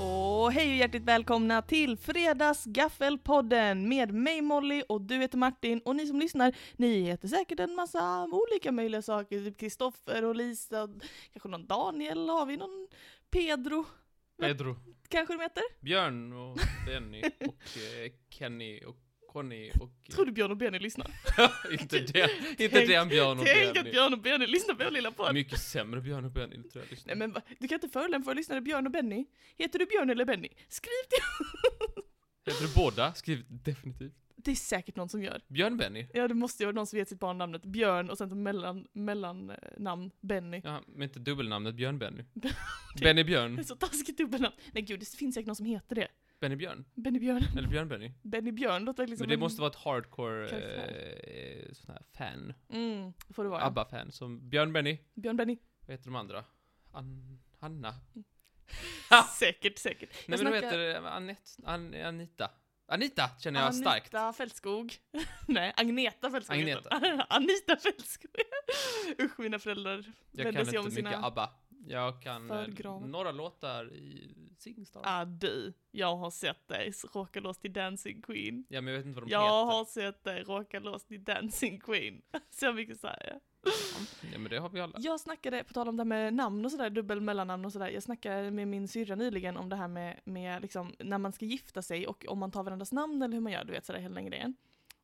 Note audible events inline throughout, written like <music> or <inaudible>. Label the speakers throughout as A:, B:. A: Och hej och hjärtligt välkomna till Fredagsgaffelpodden med mig Molly och du heter Martin och ni som lyssnar, ni heter säkert en massa olika möjliga saker, typ Kristoffer och Lisa, och kanske någon Daniel, har vi någon Pedro
B: Pedro,
A: kanske de heter?
B: Björn och Benny och eh, Kenny och Conny och... eh,
A: Tror du Björn och Benny lyssnar?
B: <laughs> inte det, inte
A: Tänk-
B: den Björn och
A: Tänk att
B: Benny.
A: Björn och Benny lyssnar på vår lilla podd!
B: Mycket sämre Björn och Benny, det tror jag.
A: Nej
B: lyssnar.
A: men va? du kan inte förolämpa våra lyssnare Björn och Benny. Heter du Björn eller Benny? Skriv till
B: Heter du båda? Skriv definitivt.
A: Det är säkert någon som gör.
B: Björn Benny?
A: Ja det måste ju vara någon som vet sitt barn namnet Björn och sen som mellan, mellannamn Benny.
B: Ja, men inte dubbelnamnet
A: <laughs>
B: Björn Benny.
A: Det-
B: Benny
A: Det är
B: Björn.
A: så taskigt dubbelnamn. Nej gud, det finns säkert någon som heter det.
B: Benny Björn.
A: Benny Björn. <laughs>
B: Eller Björn Benny.
A: Benny Björn låter verkligen som
B: Men det
A: en-
B: måste vara ett hardcore
A: Karaktär.
B: eh, sån här fan.
A: Mm, det får det vara.
B: ABBA-fan som Björn Benny.
A: Björn Benny.
B: Vad heter de andra? An Anna?
A: Säkert, säkert. Jag
B: Nej men de
A: snackar-
B: heter eh, Anette, An Anita. Anita känner jag starkt.
A: Anita Fältskog. <laughs> Nej, Agneta Fältskog. heter hon. <laughs> Anita Fältskog. <laughs> Usch, mina föräldrar
B: Jag
A: vände
B: kan
A: sig
B: inte
A: om
B: mycket
A: sina...
B: ABBA. Jag kan eh,
A: Förgravar.
B: några låtar i Singstar.
A: Ah, du. Jag har sett dig råka loss till Dancing Queen.
B: Ja, men jag vet inte vad de
A: Jag
B: heter.
A: har sett dig råka loss i Dancing Queen. <laughs> Så mycket säger jag.
B: Ja, men det har vi alla.
A: Jag snackade, på tal om det här med namn och sådär, dubbel mellannamn och sådär. Jag snackade med min syrra nyligen om det här med, med liksom, när man ska gifta sig och om man tar varandras namn eller hur man gör, du vet sådär hela den grejen.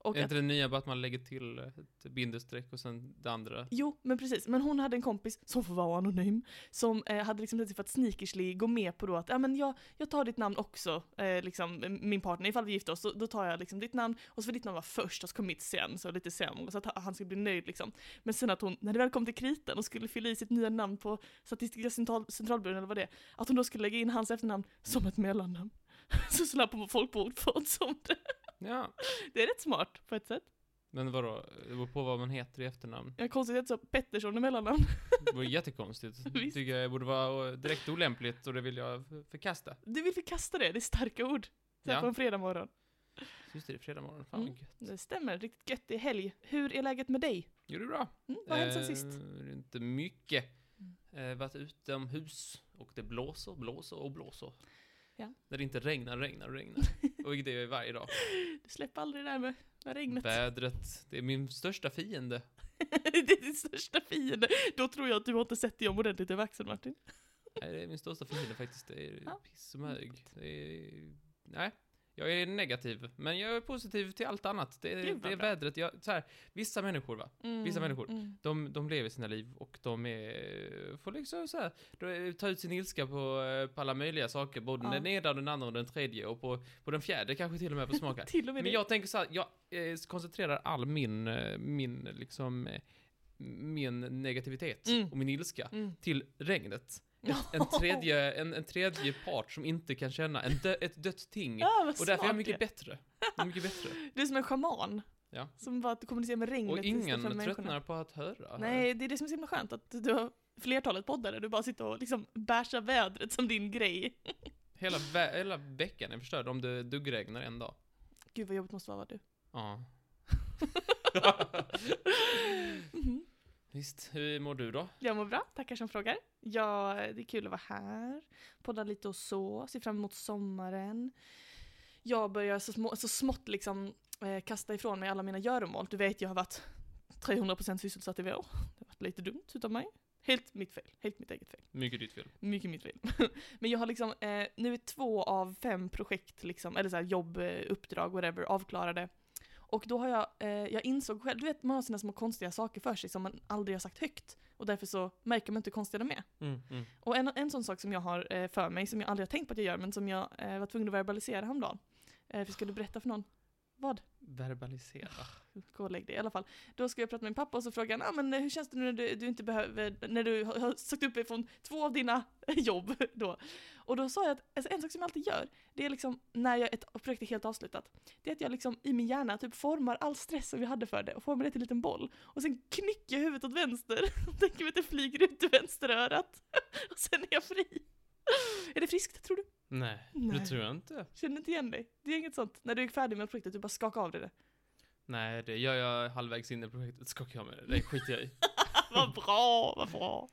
A: Och
B: är
A: att,
B: inte det nya bara att man lägger till ett bindestreck och sen det andra?
A: jo, men precis. Men hon hade en kompis, som får vara anonym, som eh, hade liksom sig för att sneakersly gå med på då att ja men jag, jag tar ditt namn också, eh, liksom eh, min partner, ifall vi gifter oss, så, då tar jag liksom ditt namn och så får ditt namn vara först och så kom mitt sen, så lite sämre, så att han skulle bli nöjd liksom. Men sen att hon, när det väl kom till kritan och skulle fylla i sitt nya namn på Statistiska central, centralbyrån eller vad det är, att hon då skulle lägga in hans efternamn som ett mellannamn. <laughs> Så slapp hon folk på ordförråd som det.
B: Ja.
A: Det är rätt smart på ett sätt.
B: Men vadå? Det beror på vad man heter i efternamn.
A: Jag konstigt att det är så Pettersson i mellannamn.
B: Det
A: <laughs>
B: vore jättekonstigt. Det
A: Visst.
B: tycker jag borde vara eh, direkt olämpligt och det vill jag f- förkasta.
A: Du vill förkasta det, det är starka ord. Så här
B: Ja.
A: på en fredagmorgon.
B: Just det, det är fredag morgon. Fan
A: Mm.
B: vad gött.
A: Det stämmer, riktigt gött. Det är helg. Hur är läget med dig?
B: Jo, det är bra.
A: Mm, vad har hänt sen
B: Eh,
A: sist? Mm.
B: det är inte mycket. Eh, varit utomhus och det blåser, blåser och blåser.
A: Ja.
B: När det inte regnar, regnar
A: <laughs>
B: och regnar. och det är varje dag.
A: Du släpper aldrig det där med, med regnet.
B: Vädret, det är min största fiende.
A: <laughs> det är din största fiende. Då tror jag att du har inte sett dig om ordentligt över axeln Martin.
B: Nej, det är min största fiende faktiskt. Det är
A: Ja.
B: piss och mög. Det är... Nej, jag är negativ. Men jag är positiv till allt annat. Det är,
A: Gud, vad
B: det är
A: bra.
B: vädret. Jag, så här, vissa människor va, Vissa människor.
A: Mm.
B: de, de lever sina liv och de är, får liksom så här, de tar ut sin ilska på, eh, på alla möjliga saker. Både
A: Ja.
B: den ena, den andra och den tredje och på, på den fjärde kanske till
A: <laughs>
B: och med får smaka.
A: Till och med
B: Men
A: det.
B: jag tänker så här, jag eh, koncentrerar all min, eh, min liksom, eh, min negativitet
A: Mm.
B: och min ilska
A: <laughs> Mm.
B: till regnet. Ett, en, tredje, en, en tredje part som inte kan känna en dö, ett dött ting.
A: Ja, vad
B: Och därför är jag
A: smart
B: mycket
A: det.
B: bättre. Jag är
A: <laughs>
B: mycket bättre.
A: Du är som en schaman.
B: Ja.
A: Som bara att kommunicera med regnet
B: Och ingen
A: istället för människorna.
B: tröttnar på att höra.
A: Nej, det är det som är så himla skönt. Att du har flertalet poddar där du bara sitter och liksom bärsar vädret som din grej.
B: Hela, vä- hela veckan är förstörd om det duggregnar en dag.
A: Gud vad jobbigt måste vara du.
B: <laughs> Ja.
A: Mhm.
B: Visst, hur mår du då?
A: Jag mår bra, tackar som frågar. Ja, det är kul att vara här. Podda lite och så, se fram emot sommaren. Jag börjar så, små, så smått liksom eh, kasta ifrån mig alla mina göromål. Du vet, jag har varit 300% sysselsatt i vår. Det har varit lite dumt utav mig. Helt mitt fel, helt mitt eget fel.
B: Mycket ditt fel.
A: Mycket mitt fel. <laughs> Men jag har liksom, eh, nu är två av fem projekt, liksom, eller så här jobb, eh, uppdrag, whatever, avklarade. Och då har jag, eh, jag insåg själv, du vet man har sina små konstiga saker för sig som man aldrig har sagt högt. Och därför så märker man inte hur konstiga de är.
B: Mm,
A: Och en, en sån sak som jag har eh, för mig, som jag aldrig har tänkt på att jag gör, men som jag eh, var tvungen att verbalisera häromdagen. Eh, för jag skulle berätta för någon. Vad?
B: Verbalisera.
A: Gå och lägg dig i alla fall. Då ska jag prata med min pappa och så frågar han, ah, men eh, hur känns det nu när du, du inte behöver, när du har har sagt upp dig från två av dina <laughs> jobb då? Och då sa jag att alltså, en sak som jag alltid gör, det är liksom när jag ett projekt är helt avslutat, det är att jag liksom i min hjärna typ formar all stress som jag hade för det och formar det till en liten boll. Och sen knycker jag huvudet åt vänster <laughs> och tänker mig att det flyger ut ur vänsterörat. <laughs> och sen är jag fri. är det friskt tror du?
B: Nej,
A: Nej.
B: det tror jag inte.
A: Känner inte igen dig? Det är inget sånt. När du är färdig med projektet, du bara skakar av dig
B: <laughs>
A: det.
B: Nej, det gör jag halvvägs in i projektet. Skakar jag med det. Det skiter jag i.
A: vad bra, vad bra.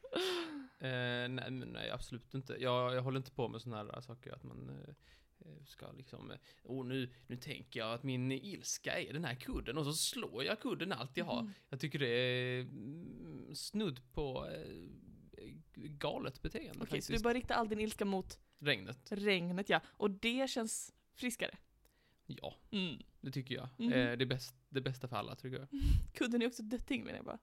B: Eh, nej, men nej, absolut inte. Jag, jag håller inte på med sådana här saker att man eh, ska liksom, eh, oh, nu, nu tänker jag att min ilska är den här kudden och så slår jag kudden allt jag har.
A: Mm.
B: Jag tycker det är mm, snudd på eh, galet beteende
A: Okej, så du
B: faktiskt.
A: bara riktar all din ilska mot
B: Regnet.
A: regnet ja. Och det känns friskare.
B: Ja,
A: Mm.
B: det tycker jag.
A: Mhm.
B: Eh, det, är bäst, det bästa för alla tycker jag.
A: Kudden är också dötting menar jag bara.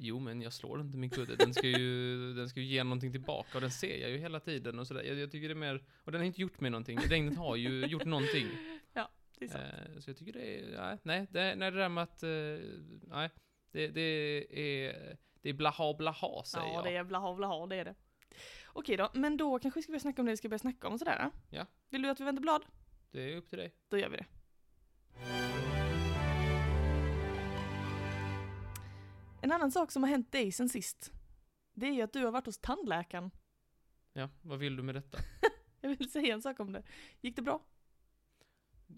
B: Jo, men jag slår inte min kudde. Den ska ju, <laughs> den ska ju ge någonting tillbaka och den ser jag ju hela tiden och sådär. Jag, jag tycker det är mer, och den har inte gjort mig någonting. Regnet
A: <laughs>
B: har ju gjort någonting.
A: Det är sant.
B: Eh, så jag tycker det är, nej, nej, det, nej, det där med att, eh, nej, det, det är, det är blaha blaha säger
A: ja,
B: jag.
A: det är jävla havla ha, det är det. Okej då, men då kanske vi ska börja snacka om det vi ska börja snacka om och sådär.
B: Ja.
A: Vill du att vi vänder blad?
B: det är upp till dig.
A: Då gör vi det. En annan sak som har hänt dig sen sist, det är ju att du har varit hos tandläkaren.
B: Ja, vad vill du med detta?
A: Jag vill säga en sak om det. Gick det bra?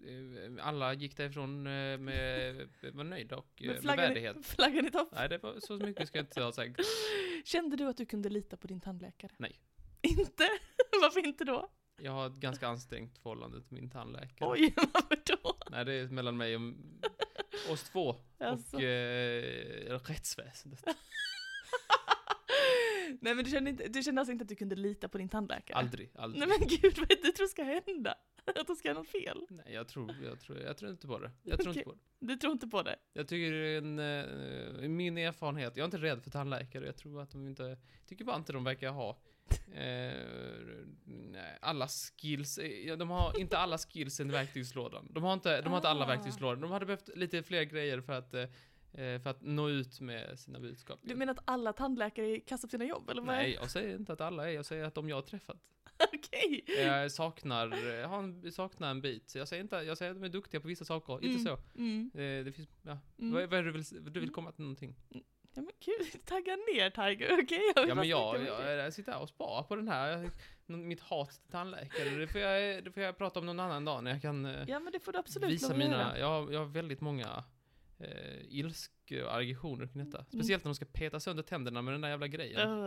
B: Eh, Alla gick därifrån
A: <laughs>
B: eh, med, var nöjda och eh, med, med
A: flaggan,
B: värdighet.
A: i, <laughs> flaggan i topp.
B: Nej, det var så mycket ska jag inte alltså. ha sagt.
A: Kände du att du kunde lita på din tandläkare?
B: Nej.
A: Inte? <laughs> Varför inte då?
B: Jag har ett ganska ansträngt förhållande till min tandläkare.
A: Oj, <laughs> varför då?
B: Nej, det är mellan mig och oss två
A: Alltså.
B: och eh, rättsväsendet.
A: Nej men du kände, inte, du kände alltså inte att du kunde lita på din tandläkare?
B: Aldrig, aldrig.
A: Nej men gud, <laughs> vad är det du tror ska hända? <laughs> Att det ska hända något fel?
B: Nej, jag tror, jag tror, jag tror inte på det. Jag tror
A: Okej.
B: inte på det.
A: Du tror inte på det?
B: Jag tycker det är en, eh, min erfarenhet, jag är inte rädd för tandläkare, jag tror att de inte, jag tycker bara inte de verkar ha eh, nej, alla skills, eh, ja, de har inte alla skillsen i verktygslådan. De har inte, de har inte alla
A: Ah.
B: verktygslådor, de hade behövt lite fler grejer för att, eh, eh, för att nå ut med sina budskap.
A: Du menar att alla tandläkare kastar upp sina jobb eller vad?
B: Nej, jag säger inte att alla är, jag säger att de jag har träffat.
A: <laughs> Okej.
B: Jag saknar, jag har en, saknar en bit. Så jag säger inte, jag säger att de är duktiga på vissa saker, inte så.
A: Mm.
B: Eh, Det finns, ja.
A: Mm.
B: Vad, vad är det du vill, du vill
A: Mm.
B: komma till någonting?
A: Ja men gud, <laughs> tagga ner Tiger, <laughs> okej? jag vill
B: Ja
A: bara
B: men
A: snacka
B: jag,
A: med dig.
B: jag, jag sitter här och sparar på den här, jag- någon- mitt hat till tandläkare. Det får, jag, det får jag prata om någon annan dag när jag kan eh,
A: Ja men det får du absolut
B: visa
A: lov att göra.
B: mina, jag, har- jag har väldigt många eh, ilskor och aggressioner kring detta.
A: Mm.
B: Speciellt när de ska peta sönder tänderna med den där jävla grejen.
A: <laughs>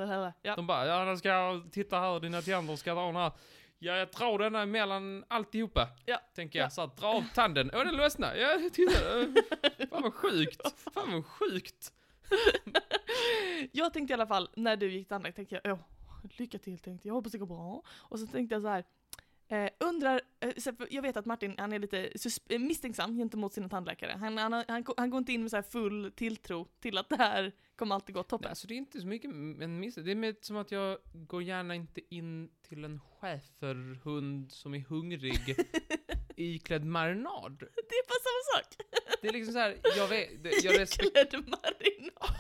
A: Ja.
B: De bara, ja nu ska jag titta här, dina tänder ska dra den här. Ja, jag drar den här mellan alltihopa.
A: Ja.
B: Tänker jag,
A: Ja.
B: så här, dra av tanden. Åh, den lossnade. Ja,
A: <laughs>
B: titta. eh, Fan vad sjukt. Fan vad sjukt.
A: Jag tänkte i alla fall, när du gick till tandläkaren, tänkte jag åh, lycka till tänkte jag, hoppas det går bra. Och så tänkte jag så här, eh, undrar, eh, så här, för jag vet att Martin han är lite susp- eh, misstänksam gentemot sina tandläkare. Han, han, har- han, går- han går inte in med så här full tilltro till att det här kommer alltid gå
B: Nej,
A: toppen.
B: alltså det är inte så mycket en miss. Det är mer som att jag går gärna inte in till en schäferhund som är hungrig iklädd marinad.
A: Det är bara samma sak!
B: Det är liksom så här, jag vet,
A: <laughs>
B: det, jag, respek,
A: Iklädd marinad.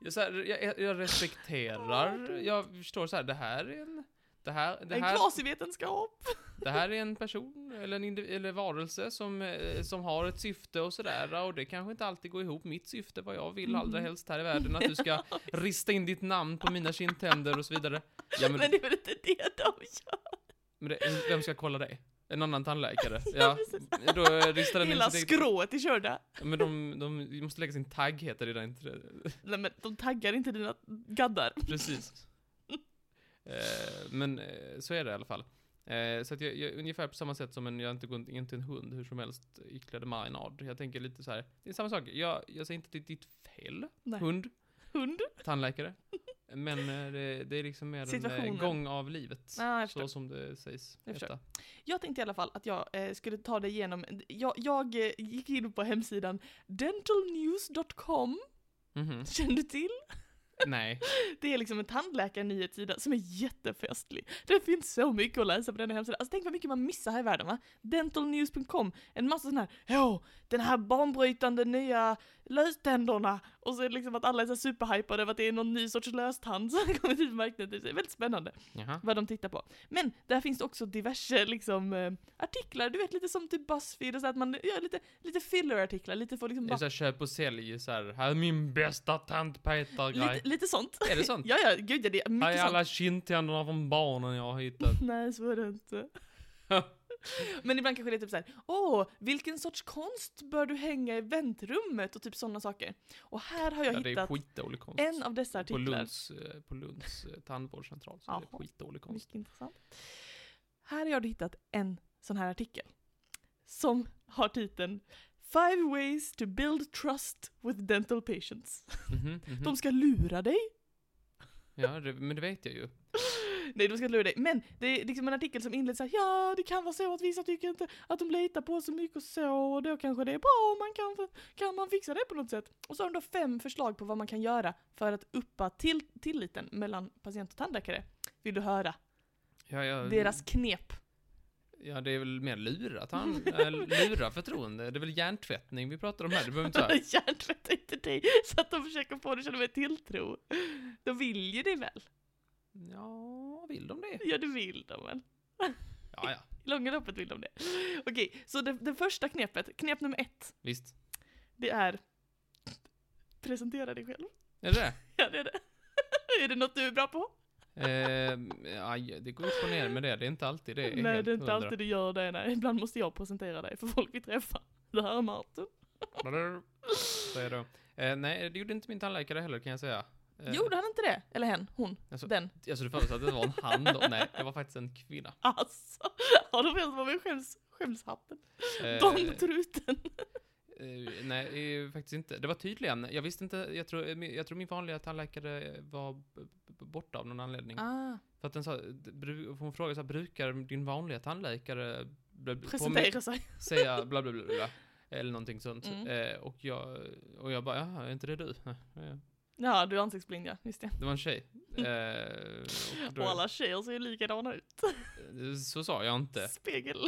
B: jag, så här, jag, jag respekterar, jag förstår så här, det här är en, det här, det
A: En
B: här,
A: kvasivetenskap.
B: Det här är en person eller en indiv- eller varelse som, eh, som har ett syfte och sådär och det kanske inte alltid går ihop. Mitt syfte, vad jag vill allra
A: Mhm.
B: helst här i världen, att du ska rista in ditt namn på mina kindtänder och så vidare. Ja, men,
A: Men det är väl inte det de gör?
B: men det, vem ska kolla det? En annan tandläkare?
A: <laughs> Ja,
B: Ja,
A: precis.
B: då eh, ristar den in
A: Hela
B: sitt eget...
A: skrået i körda.
B: Men de, de, de måste lägga sin tagg, heter det där inte
A: <laughs>
B: det?
A: Nej men de taggar inte dina gaddar.
B: Precis. Eh, men eh, så är det i alla fall. Eh, så att jag, jag, ungefär på samma sätt som en, jag har inte går in till en hund hur som helst iklädd marinad. Jag tänker lite så här. det är samma sak. Jag, jag säger inte att det är ditt fel,
A: Nej.
B: hund,
A: Hund?
B: tandläkare. Men eh, det, det är liksom mer en
A: Situationen.
B: eh, gång av livet.
A: Ja, jag förstår.
B: så som det sägs.
A: Jag förstår.
B: heta.
A: Jag tänkte i alla fall att jag eh, skulle ta dig igenom, jag, jag eh, gick in på hemsidan dentalnews.com,
B: Mhm.
A: känner du till?
B: Nej,
A: Det är liksom en tandläkarnyhetssida som är jättefestlig. Det finns så mycket att läsa på den här hemsidan. Alltså tänk vad mycket man missar här i världen va? Dentalnews.com, en massa sådana här Åh, den här banbrytande nya löständerna! Och så är det liksom att alla är så här superhypade över att det är någon ny sorts löstand som <laughs> har kommit ut på marknaden. Det är väldigt spännande
B: jaha.
A: vad de tittar på. Men där finns det också diverse liksom, eh, artiklar, du vet lite som typ Buzzfeed och så att man gör lite, lite filler-artiklar, lite får liksom
B: Det är
A: bara,
B: så här, köp och sälj, så här, här är min bästa tandpetargrej.
A: lite, lite sånt.
B: Är det sånt?
A: <laughs> Ja, ja, gud ja, det är
B: Här
A: mycket
B: är
A: sånt.
B: alla kindtänderna från barnen jag har hittat. <laughs>
A: Nej, så är det inte. Men ibland kanske det är typ såhär, åh, vilken sorts konst bör du hänga i väntrummet? Och typ sådana saker. Och här har <laughs> jag
B: Ja, det är
A: hittat
B: skitdålig konst.
A: en av dessa
B: på
A: artiklar.
B: Lunds, eh, på Lunds eh, tandvårdscentral så är det
A: Jaha.
B: skitdålig konst.
A: Mycket intressant. Här har jag då hittat en sån här artikel. Som har titeln Five ways to build trust with dental patients.
B: Mhm, mhm.
A: De ska lura dig.
B: Ja, det, men det vet jag ju.
A: Nej, de ska inte lura dig. Men det är liksom en artikel som inleds så här, ja, det kan vara så att vissa tycker inte att de litar på så mycket och så, och då kanske det är bra om man kan, kan man fixa det på något sätt. Och så har de då fem förslag på vad man kan göra för att uppa till, tilliten mellan patient och tandläkare. Vill du höra?
B: Ja, ja,
A: Deras knep.
B: ja, det är väl mer lura, tan- äh, lura förtroende. Det är väl hjärntvättning vi pratar om här. Det behöver
A: <laughs>
B: inte vara...
A: Hjärntvätta inte dig så att de försöker få dig att känna mer tilltro. De vill ju det väl?
B: Ja, vill de det?
A: Ja, det vill de väl?
B: Ja, ja,
A: I långa loppet vill de det. Okej, så det, det första knepet, knep nummer ett.
B: visst.
A: Det är... Presentera dig själv.
B: Är det det?
A: Ja, det är det. <laughs> är det något du är bra på?
B: Eh, aj, det går upp och ner med det. Det är inte alltid det. är
A: nej,
B: helt
A: det är inte
B: hundra.
A: alltid du gör det. Nej. Ibland måste jag presentera dig för folk vi träffar. Det här är Martin.
B: Säger du. Eh, nej, det gjorde inte min tandläkare heller kan jag säga. Eh,
A: Gjorde han inte det? Eller hen? Hon?
B: Alltså-
A: Den?
B: Alltså du förutsatte att det var en hand då? Nej, det var faktiskt en kvinna.
A: Alltså! Ja, då vet jag vad vi skäms, skämshatten.
B: Eh,
A: Domtruten.
B: Eh, nej, eh, faktiskt inte. Det var tydligen, jag visste inte, jag tror, eh, min- jag tror min vanliga tandläkare var b- b- borta av någon anledning.
A: Ah,
B: För att den sa, d- bru- hon frågade så här, brukar din vanliga tandläkare bla- bla- på
A: presentera sig.
B: mig säga bla bla bla bla? Eller någonting sånt.
A: Mm.
B: Eh, och, jag, och jag bara, jaha, är inte det du? Eh, eh.
A: Ja, du är ansiktsblind ja, just det.
B: Det var en tjej. Eh, och då-
A: Och alla tjejer ser ju likadana ut.
B: eh, Så sa jag inte.
A: Spegel.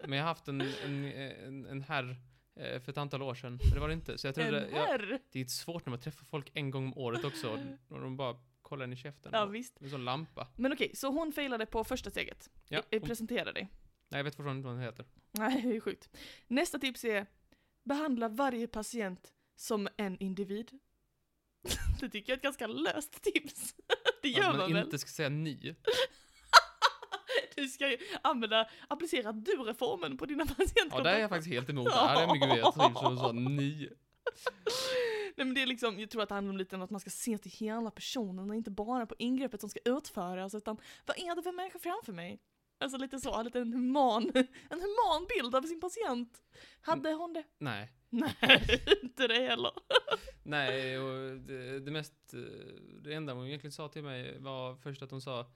B: Men jag har haft en, en, en, en herr eh, för ett antal år sedan. Men det var det inte. Så jag
A: En
B: trodde, jag,
A: herr.
B: Det är svårt när man träffar folk en gång om året också,
A: <laughs>
B: och de bara kollar en i käften.
A: Ja,
B: och-
A: visst.
B: med en sån lampa.
A: Men okej, så hon failade på första steget.
B: Ja,
A: Eh,
B: hon-
A: Presentera dig. <laughs>
B: nej, jag vet fortfarande inte vad hon heter.
A: Nej, det är sjukt. Nästa tips är behandla varje patient som en individ. <laughs> Det tycker jag är ett ganska löst tips. <laughs> Det gör
B: Att
A: man
B: man
A: väl?
B: inte ska säga ny.
A: <laughs> Du ska ju använda, applicera du-reformen på dina <laughs> patientkontakter.
B: Ja, där är jag faktiskt helt emot. Det här är mycket mer trivs som sa ny.
A: Nej men det är liksom, jag tror att det handlar om lite om att man ska se till hela personen och inte bara på ingreppet som ska utföras utan vad är det för människa framför mig? Alltså lite så, lite en human, <laughs> en human bild av sin patient. Hade
B: Mm.
A: hon
B: <laughs>
A: det?
B: Nej.
A: Nej, inte det heller.
B: Nej, och det, det mest, eh, det enda hon egentligen sa till mig var först att hon sa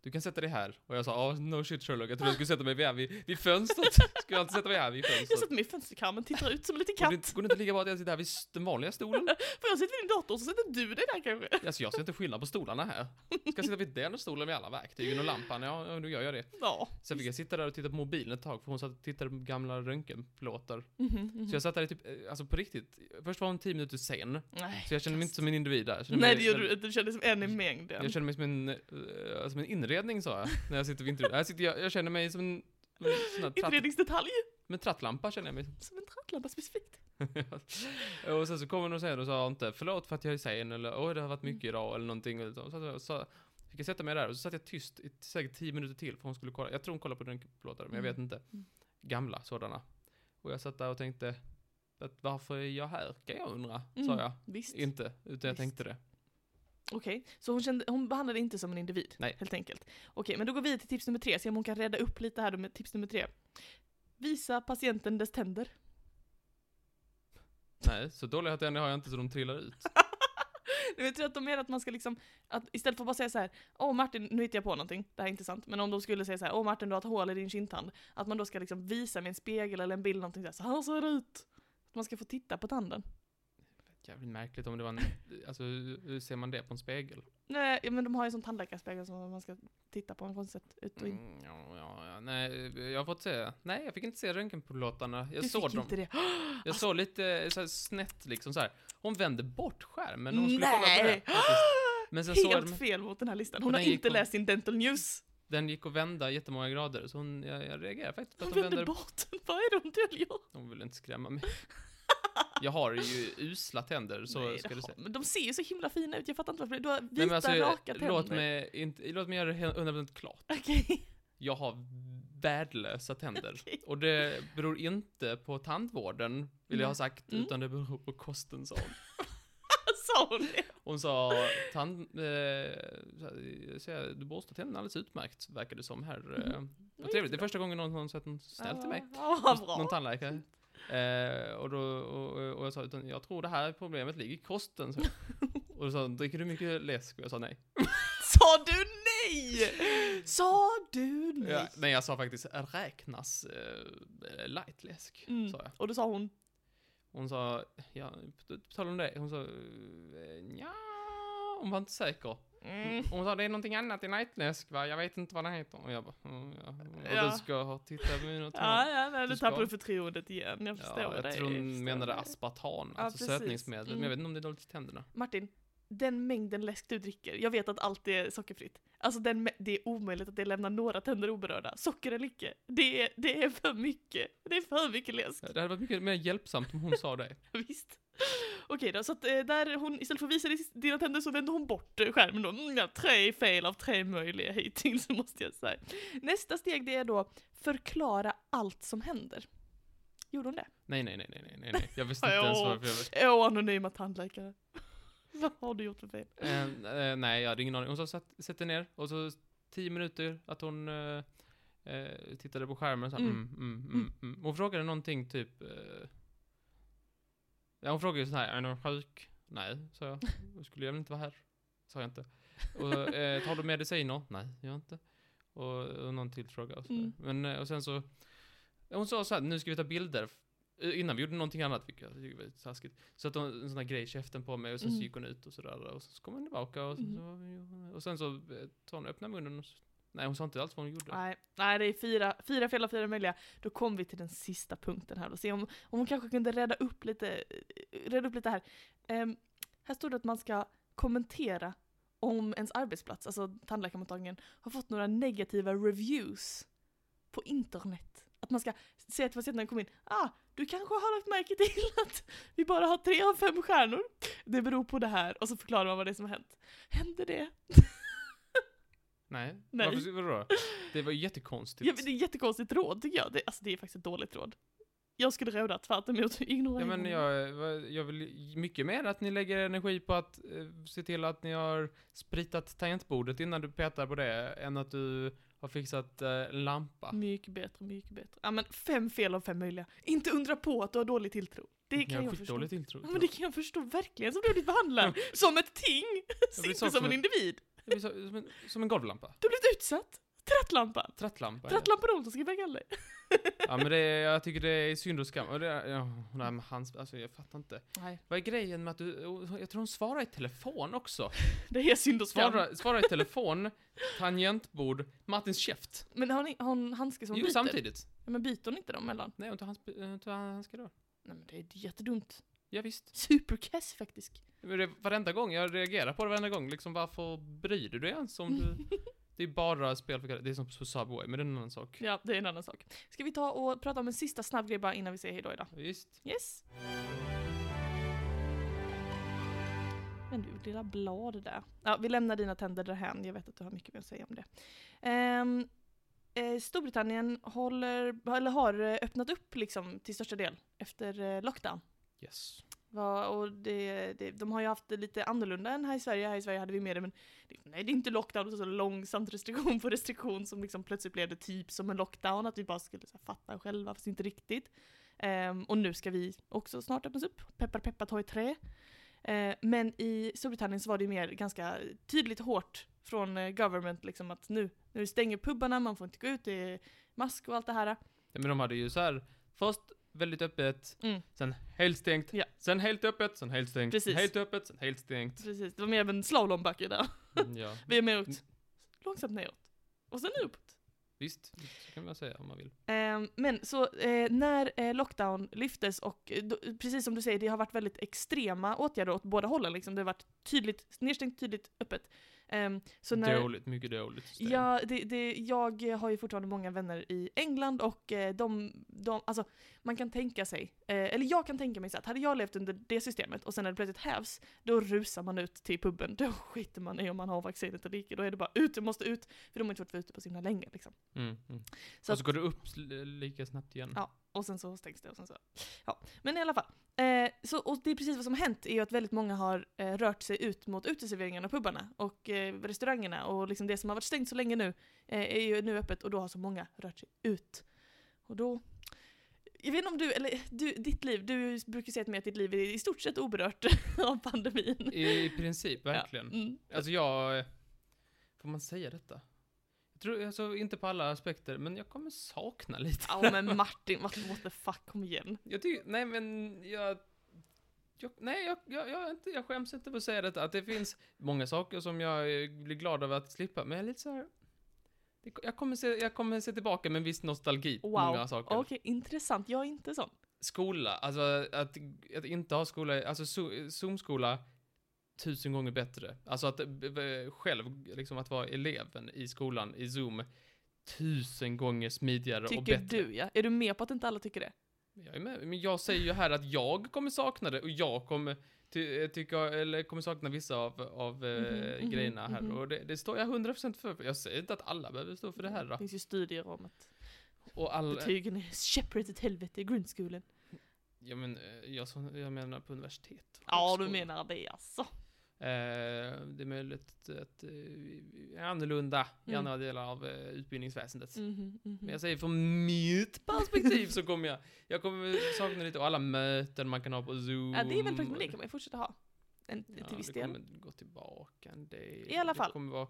B: du kan sätta dig här. Och jag sa, oh, no shit Sherlock, jag trodde jag skulle sätta mig vid, här vid, vid fönstret. <laughs> Ska jag inte sätta mig här vid
A: Jag
B: fönstret?
A: sätter mig i fönsterkarmen, tittar ut som en liten
B: Går
A: katt.
B: Alltså- det, inte- går det inte lika bra att jag sitter här vid s- den vanliga stolen?
A: För jag sitter vid din dator så sätter du dig där kanske.
B: Alltså jag ser inte skillnad på stolarna här. Ska jag sitta vid den stolen med alla verktygen och lampan? Ja, ja, då gör jag det.
A: Ja.
B: Sen fick jag sitta där och titta på mobilen ett tag för hon satt och tittade på gamla röntgenplåtar.
A: Mhm.
B: Så jag satt där i typ, eh, alltså på riktigt. Först var hon 10 minuter sen.
A: Nej.
B: Så jag kände mig inte som en individ där. Jag kände
A: Nej
B: mig,
A: det gör du inte, du känner dig som en i mängden.
B: Jag kände mig som en, eh, som en inredning sa jag. När jag sitter vid intervjun. Här sitter jag, jag känner mig som en, en sån här tratt,
A: Inredningsdetalj,
B: med trattlampa känner jag mig.
A: som en trattlampa specifikt.
B: <laughs> och sen så kom hon och sen och sa inte förlåt för att jag är sen eller oj det har varit mycket idag eller någonting. Och liksom. så, så, så fick jag sätta mig där och så satt jag tyst i säkert 10 minuter till för hon skulle kolla. Jag tror hon kollade på röntgenplåtar men jag vet inte.
A: Mm.
B: Gamla sådana. Och jag satt där och tänkte att varför är jag här kan jag undra, sa
A: Mm.
B: jag.
A: Visst.
B: Inte, utan jag
A: Visst.
B: tänkte det.
A: Okej, så hon, kände, hon behandlade inte som en individ
B: Nej.
A: helt enkelt. Okej, men då går vi till tips nummer tre, se om hon kan rädda upp lite här då med tips nummer tre. Visa patienten dess tänder. <laughs>
B: Nej, så dåliga tänder har jag inte så de trillar ut.
A: Nej, men Jag tror att de menar att man ska liksom, att istället för att bara säga så här, åh Martin, nu hittar jag på någonting, det här är intressant, men om de skulle säga så här, åh Martin du har ett hål i din kindtand, att man då ska liksom visa med en spegel eller en bild någonting så här, så här ser det ut. Att man ska få titta på tanden.
B: Jävligt märkligt om det var en,
A: <laughs>
B: alltså hur hur ser man det på en spegel?
A: Nej, ja, men de har ju en sån tandläkarspegel som man ska titta på en konstigt ut och in.
B: Mm, ja, ja, ja, nej, jag har fått se. Nej, jag fick inte se röntgenplåtarna. Jag
A: du
B: såg
A: fick
B: dem.
A: inte det.
B: Jag såg lite eh, så här snett liksom så här. Hon vände bort skärmen när hon skulle kolla på
A: Nej!
B: det. faktiskt. Men sen såg
A: <laughs>
B: jag
A: Helt
B: dem-
A: fel mot den här listan.
B: Och
A: Hon har
B: den gick
A: inte
B: på-
A: läst sin dental news.
B: Den gick och vända jättemånga grader, så hon, jag, jag reagerar faktiskt på
A: Hon
B: att hon
A: vände
B: vänder.
A: bort <laughs> den. Vad är det hon döljer?
B: Hon ville inte skrämma mig. Jag har ju usla tänder, så
A: Nej,
B: ska
A: det
B: du
A: har-
B: säga.
A: Men de ser ju så himla fina ut. Jag fattar inte varför. Du har vita,
B: Nej, men alltså,
A: raka tänder.
B: låt mig, inte, låt mig göra det 100% klart.
A: Okej. <laughs>
B: Jag har värdelösa tänder. Och det beror inte på tandvården, vill jag ha sagt,
A: Mm.
B: utan det beror på kosten, sa hon.
A: Sa hon det?
B: Hon sa, tand, eh, så- så jag- du borstar tänderna alldeles utmärkt, verkar det som här.
A: Mm-hmm.
B: Eh, vad trevligt, det är första gången någon har sagt något snällt till mig.
A: Ja, vad
B: Någon- Någon
A: bra. Mm.
B: tandläkare. Eh, och, då, och, och jag sa, utan jag tror det här problemet ligger i kosten. Så.
A: <laughs>
B: Och då sa hon, dricker du mycket läsk? Och jag sa nej.
A: Sa du nej? Sa du nej?
B: Ja, nej, jag sa faktiskt räknas eh, light läsk.
A: Mm.
B: Sa jag.
A: Och då sa hon,
B: Hon sa, ja, på på tal om det, hon sa, eh, ja, hon var inte säker.
A: mm,
B: Hon sa det är någonting annat i nightläsk va? Jag vet inte vad det heter. Och jag bara, mm, ja. Och
A: Ja.
B: du ska ha tittat på mina
A: ja, ja, nej,
B: du
A: nu tappar
B: ska.
A: du förtroendet igen, jag förstår
B: jag
A: det.
B: tror
A: jag
B: hon
A: förstår
B: menade
A: det.
B: aspartam,
A: Ja,
B: alltså
A: precis.
B: sötningsmedel.
A: Mm.
B: Men jag vet inte om det är dåligt för tänderna.
A: Martin, den mängden läsk du dricker, jag vet att allt är sockerfritt. Alltså den, mä- det är omöjligt att det lämnar några tänder oberörda. Socker eller icke, det är, det är för mycket. Det är för mycket läsk.
B: Ja, Det hade varit mycket mer hjälpsamt om hon sa det.
A: <laughs> Visst. Okej då, så att eh, där hon, istället för att visa dis- dina tänder så vänder hon bort eh, skärmen då. Mm, ja, tre fel av tre möjliga hittills <laughs> måste jag säga. Nästa steg det är då förklara allt som händer. Gjorde hon det?
B: Nej, nej, nej, nej, nej, nej, nej.
A: <laughs>
B: Jag visste inte ens varför jag...
A: Åh, anonyma tandläkare. <laughs> Vad har du gjort för fel?
B: Eh, eh, nej, jag hade ingen aning. Hon sa satt, sätt dig ner och så tio minuter att hon eh, eh, tittade på skärmen och så här,
A: Mm.
B: mm. Mm, mm, mm, Hon frågade någonting typ... Eh, ja, hon frågade ju så här, är någon sjuk? Nej, sa jag. Då skulle jag väl inte vara här. Sa jag inte. Och, eh, tar du mediciner? Nej, gör jag inte. Och, och någon till fråga. Och, så där.
A: Mm.
B: Men, eh, och sen så... Hon sa så här, nu ska vi ta bilder. Eh, Innan vi gjorde någonting annat, vilket jag tycker var lite taskigt. Så att hon en sån här grej i käften på mig och sen
A: Mm.
B: så gick hon ut och sådär. Och så kom hon tillbaka och sen så... Och sen så eh, tar hon öppna munnen och så, Nej, hon sa inte alls vad hon gjorde.
A: Nej, nej det är fyra, fyra fel av fyra möjliga. Då kom vi till den sista punkten här och se om, om hon kanske kunde rädda upp lite, rädda upp lite här. Ehm, här stod det att man ska kommentera om ens arbetsplats, alltså tandläkarmottagningen, har fått några negativa reviews på internet. Att man ska säga till patienten när den kommer in, ah, du kanske har lagt märke till att vi bara har tre av fem stjärnor. Det beror på det här. Och så förklarar man vad det är som har hänt. Hände det? <laughs>
B: Nej.
A: Nej.
B: Varför, vadå? Det var ju jättekonstigt.
A: Ja, men det är ett jättekonstigt råd tycker jag. Det, alltså det är faktiskt ett dåligt råd. Jag skulle råda tvärt <laughs> emot ignorera
B: Ja, men
A: honom.
B: jag, vad- jag vill mycket mer att ni lägger energi på att eh, se till att ni har spritat tangentbordet innan du petar på det, än att du har fixat eh, en lampa.
A: Mycket bättre, mycket bättre. Ja men fem fel av fem möjliga. Inte undra på att du har dålig tilltro. Det kan
B: jag
A: jag,
B: har
A: förstå.
B: skitdålig tilltro.
A: Ja, men det kan jag förstå verkligen som du har blivit
B: <laughs>
A: behandlad. som ett ting.
B: blir
A: Inte som
B: sak som
A: en
B: ett-
A: individ.
B: Jag blir så- som, en, som en golvlampa.
A: Du har blivit utsatt. Trattlampan.
B: Trattlampa. är det.
A: Trattlampan Olsson ska väga dig.
B: Ja, men det, jag tycker det är synd och skam. Och det, är- ja, nej, men hans, alltså, jag fattar inte.
A: Nej.
B: Vad är grejen med att du... oh, Jag tror hon svarar i
A: <laughs>
B: telefon också.
A: Det är synd och skam.
B: Svara, svara i telefon, tangentbord, Martins käft.
A: Men har ni, har hon handske som
B: Jo,
A: byter?
B: samtidigt.
A: Ja, men byter hon inte dem mellan?
B: Nej, hon tar hans, eh, hon tar hans då.
A: Nej men det är jättedumt.
B: Ja, visst.
A: Superkass faktiskt.
B: Men det, varenda gång, jag reagerar på det varenda gång. Liksom varför bryr du dig ens
A: <laughs>
B: om du... Det är bara spel för Det är som på Subway, men det är en annan sak.
A: Ja, det är en annan sak. Ska vi ta och prata om en sista snabb grej bara innan vi säger hejdå idag?
B: Visst.
A: Yes. Men du, lilla blad där. Ja, vi lämnar dina tänder därhän. Jag vet att du har mycket mer att säga om det. Ehm, eh, Storbritannien håller, eller har eh, öppnat upp liksom till största del efter eh, lockdown.
B: Yes.
A: Va, och det, det, de har ju haft det lite annorlunda än här i Sverige. Här i Sverige hade vi mer det, men det, nej, det är inte lockdown, utan så långsamt restriktion på restriktion som liksom plötsligt blev det typ som en lockdown, att vi bara skulle så här, fatta själva, fast inte riktigt. Ehm, och nu ska vi också snart öppnas upp. Peppar peppar ta i trä. Eh, men i Storbritannien så var det ju mer ganska tydligt hårt från eh, government liksom att nu, nu stänger pubarna, man får inte gå ut, det är mask och allt det här.
B: Ja, men de hade ju så här, först väldigt öppet,
A: Mm.
B: sen helt stängt,
A: Ja.
B: sen helt öppet, sen helt stängt,
A: Precis.
B: sen helt öppet, sen
A: <laughs>
B: helt stängt.
A: Precis, det var mer av en slalombacke där.
B: Mm, ja,
A: Vi är mer åt, långsamt neråt. Och sen uppåt.
B: visst. Så kan man säga om man vill.
A: Ehm, men så eh, när eh, lockdown lyftes och eh, då, precis som du säger, det har varit väldigt extrema åtgärder åt båda hållen. Liksom. Det har varit tydligt nedstängt, tydligt öppet. Ehm, så när,
B: Dåligt, mycket dåligt system.
A: Ja, det, det, jag har ju fortfarande många vänner i England och eh, de, de alltså man kan tänka sig, eh, eller jag kan tänka mig så att hade jag levt under det systemet och sen när det plötsligt hävs, då rusar man ut till puben, <laughs> då skiter man i om man har vaccinet eller icke, då är det bara ut, du måste ut, för de har inte fått vara ute på så himla länge liksom.
B: Mm, mm.
A: Så
B: och så
A: att-
B: går det upp sl- lika snabbt igen.
A: Ja, och sen så stängs det och sen så. Ja. Men i alla fall. Eh, så, och det är precis vad som har hänt är ju att väldigt många har eh, rört sig ut mot uteserveringarna och pubarna och eh, restaurangerna och liksom det som har varit stängt så länge nu eh, är ju nu öppet och då har så många rört sig ut. Och då jag vet inte om du, eller du, ditt liv, du brukar säga till mig att ditt liv är i stort sett oberört <laughs> av pandemin.
B: I princip, verkligen.
A: <laughs> Ja, mm.
B: Alltså jag... eh, Får man säga detta? Jag tror, alltså inte på alla aspekter, men jag kommer sakna lite.
A: Ja <laughs> men Martin, what, what the fuck, kom igen.
B: <laughs> Jag tycker, nej men jag... Jag, nej, jag, jag, jag, är inte, jag skäms inte för att säga detta, att det finns många saker som jag eh, blir glad över att slippa, men jag är lite så här, det, jag, kommer se, jag kommer se tillbaka med en viss nostalgi på
A: Wow.
B: många saker.
A: Okej, intressant. Jag är inte sån.
B: Skola, alltså att, att inte ha skola, alltså Zo- Zoom-skola, tusen gånger bättre. Alltså att eh, b- b- själv, liksom att vara eleven i skolan, i Zoom, tusen gånger smidigare och
A: Tycker
B: bättre.
A: du ja. Är du med på att inte alla tycker det?
B: Jag är med, men jag säger ju här att jag kommer sakna det och jag kommer ty, eh, tycka, eller kommer sakna vissa av, av eh,
A: Mhm, mhm,
B: grejerna här.
A: mhm.
B: Och det, det står jag 100% för. Jag säger inte att alla behöver stå för det här.
A: Det
B: Då.
A: finns ju studier om att
B: Och alla,
A: betygen är käpprätt åt helvete i grundskolan.
B: ja, men, eh, jag, som- jag menar på universitet. och
A: Ja, du
B: högskolor.
A: menar det alltså.
B: Eh, det är möjligt att eh, vi är annorlunda i
A: Mm.
B: andra delar av eh, utbildningsväsendet.
A: Mhm, mhm.
B: Men jag säger från mitt perspektiv så kommer jag, jag kommer sakna lite av alla möten man kan ha på Zoom.
A: ja, det är väl praktiskt,
B: och
A: men det kan man ju fortsätta ha. En,
B: Ja,
A: till viss
B: det
A: del.
B: kommer gå tillbaka en del.
A: I alla fall.
B: Det kommer vara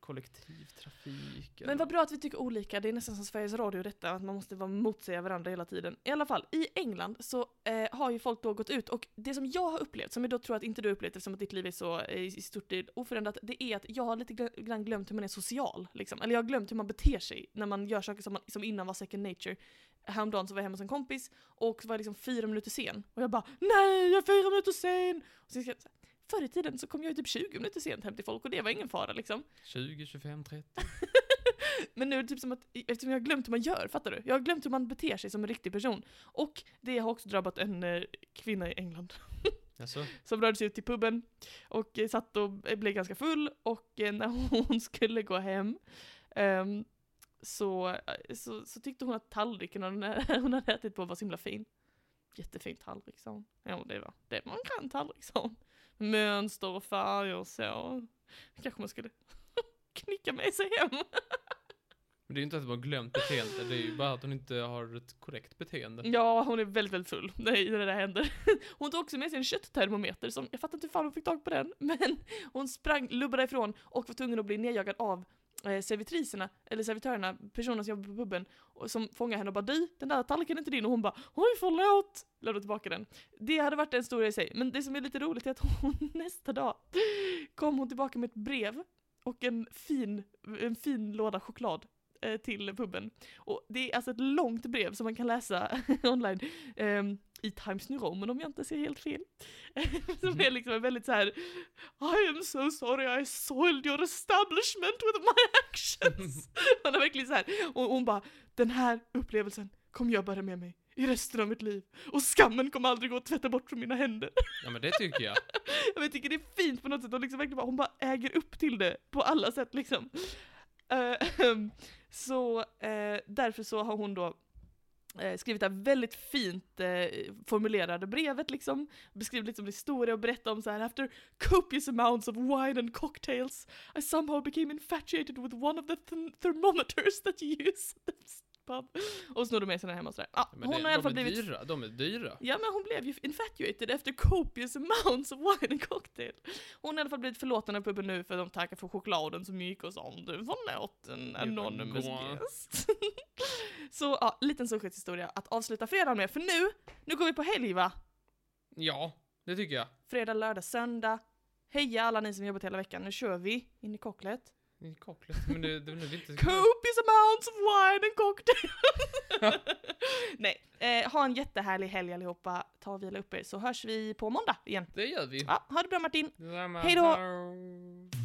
B: kollektivtrafik.
A: Men vad bra att vi tycker olika, det är nästan som Sveriges Radio detta, att man måste vara motsäga varandra hela tiden. I alla fall, i England så eh, har ju folk då gått ut och det som jag har upplevt, som jag då tror att inte du har upplevt eftersom att ditt liv är så eh, i stort del oförändrat, det är att jag har lite gr- grann glömt hur man är social. Liksom. Eller jag har glömt hur man beter sig när man gör saker som, man, som innan var second nature. Häromdagen så var jag hemma hos en kompis och så var jag liksom fyra minuter sen. Och jag bara NEJ jag är fyra minuter sen! Och sen ska jag, förr i tiden så kom jag ju typ 20 minuter sent hem till folk och det var ingen fara liksom.
B: 20, 25, 30.
A: Men nu är det typ som att, eftersom jag har glömt hur man gör, fattar du? Jag har glömt hur man beter sig som en riktig person. Och det har också drabbat en eh, kvinna i England <laughs>
B: Alltså,
A: som rörde sig ut till puben och eh, satt och eh, blev ganska full och eh, när hon <laughs> skulle gå hem ehm, så, eh, så, så tyckte hon att tallriken hon hade- <laughs> hon hade ätit på var så himla fin. Jättefin tallrik sa hon. Ja det var, det var en grann tallrik sa hon. Mönster och färger och så. Kanske man skulle <laughs> knicka med sig hem.
B: men det är ju inte att man har glömt beteende, det är ju bara att hon inte har ett korrekt beteende.
A: Ja, hon är väldigt, väldigt full när när det där händer. <laughs> Hon tog också med sig en kötttermometer som, jag fattar inte hur fan hon fick tag på den, <laughs> men hon sprang, lubbade ifrån och var tvungen att bli nedjagad av eh, servitriserna, eller servitörerna, personerna som jobbar på puben, och som fångade henne och bara du, den där tallriken är inte din och hon bara oj förlåt, lämnade tillbaka den. Det hade varit en historia i sig, men det som är lite roligt är att hon <laughs> nästa dag kom hon tillbaka med ett brev och en fin, en fin låda choklad eh, till puben. Och det är alltså ett långt brev som man kan läsa <laughs> online ehm, i Times New Roman om jag inte ser helt fel. <laughs> som är liksom en väldigt så här I am so sorry I soiled your establishment with my actions. Hon är verkligen så här, och hon bara den här upplevelsen kommer jag bära med mig i resten av mitt liv och skammen kommer aldrig gå att tvätta bort från mina händer.
B: Ja men det tycker jag.
A: Ja, <laughs> men Jag tycker det är fint på något sätt, hon, liksom verkligen bara, hon bara äger upp till det på alla sätt liksom. Eh, <laughs> så eh, därför så har hon då eh, skrivit det här väldigt fint eh, formulerade brevet liksom, beskrivit liksom historia och berättat om så här after copious amounts of wine and cocktails I somehow became infatuated with one of the th- thermometers that you use at the pub. Och snodde med sig den hem och sådär. Ja,
B: Ja, Men
A: hon
B: det,
A: har i alla fall
B: de är
A: blivit
B: dyra, de är dyra.
A: Ja men hon blev ju infatuated efter copious amounts of wine and cocktail. Hon har i alla fall blivit förlåten av puben nu för att de tackar för chokladen så mycket och sånt. Du förlåt en anonymous
B: gott.
A: guest. <laughs> så ja, liten solskenshistoria att avsluta fredagen med. För nu, nu går vi på helg va?
B: Ja, det tycker jag.
A: Fredag, lördag, söndag. Heja alla ni som jobbat hela veckan, nu kör vi in i kocklet.
B: Det är kocklet, men det, det är väl inte...
A: Copious amounts of wine and cocktail. <laughs> Nej, eh, ha en jättehärlig helg allihopa. Ta och vila upp er så hörs vi på måndag igen.
B: Det gör vi.
A: Ja, ha det bra Martin.
B: Detsamma.
A: Hej då.
B: Hej.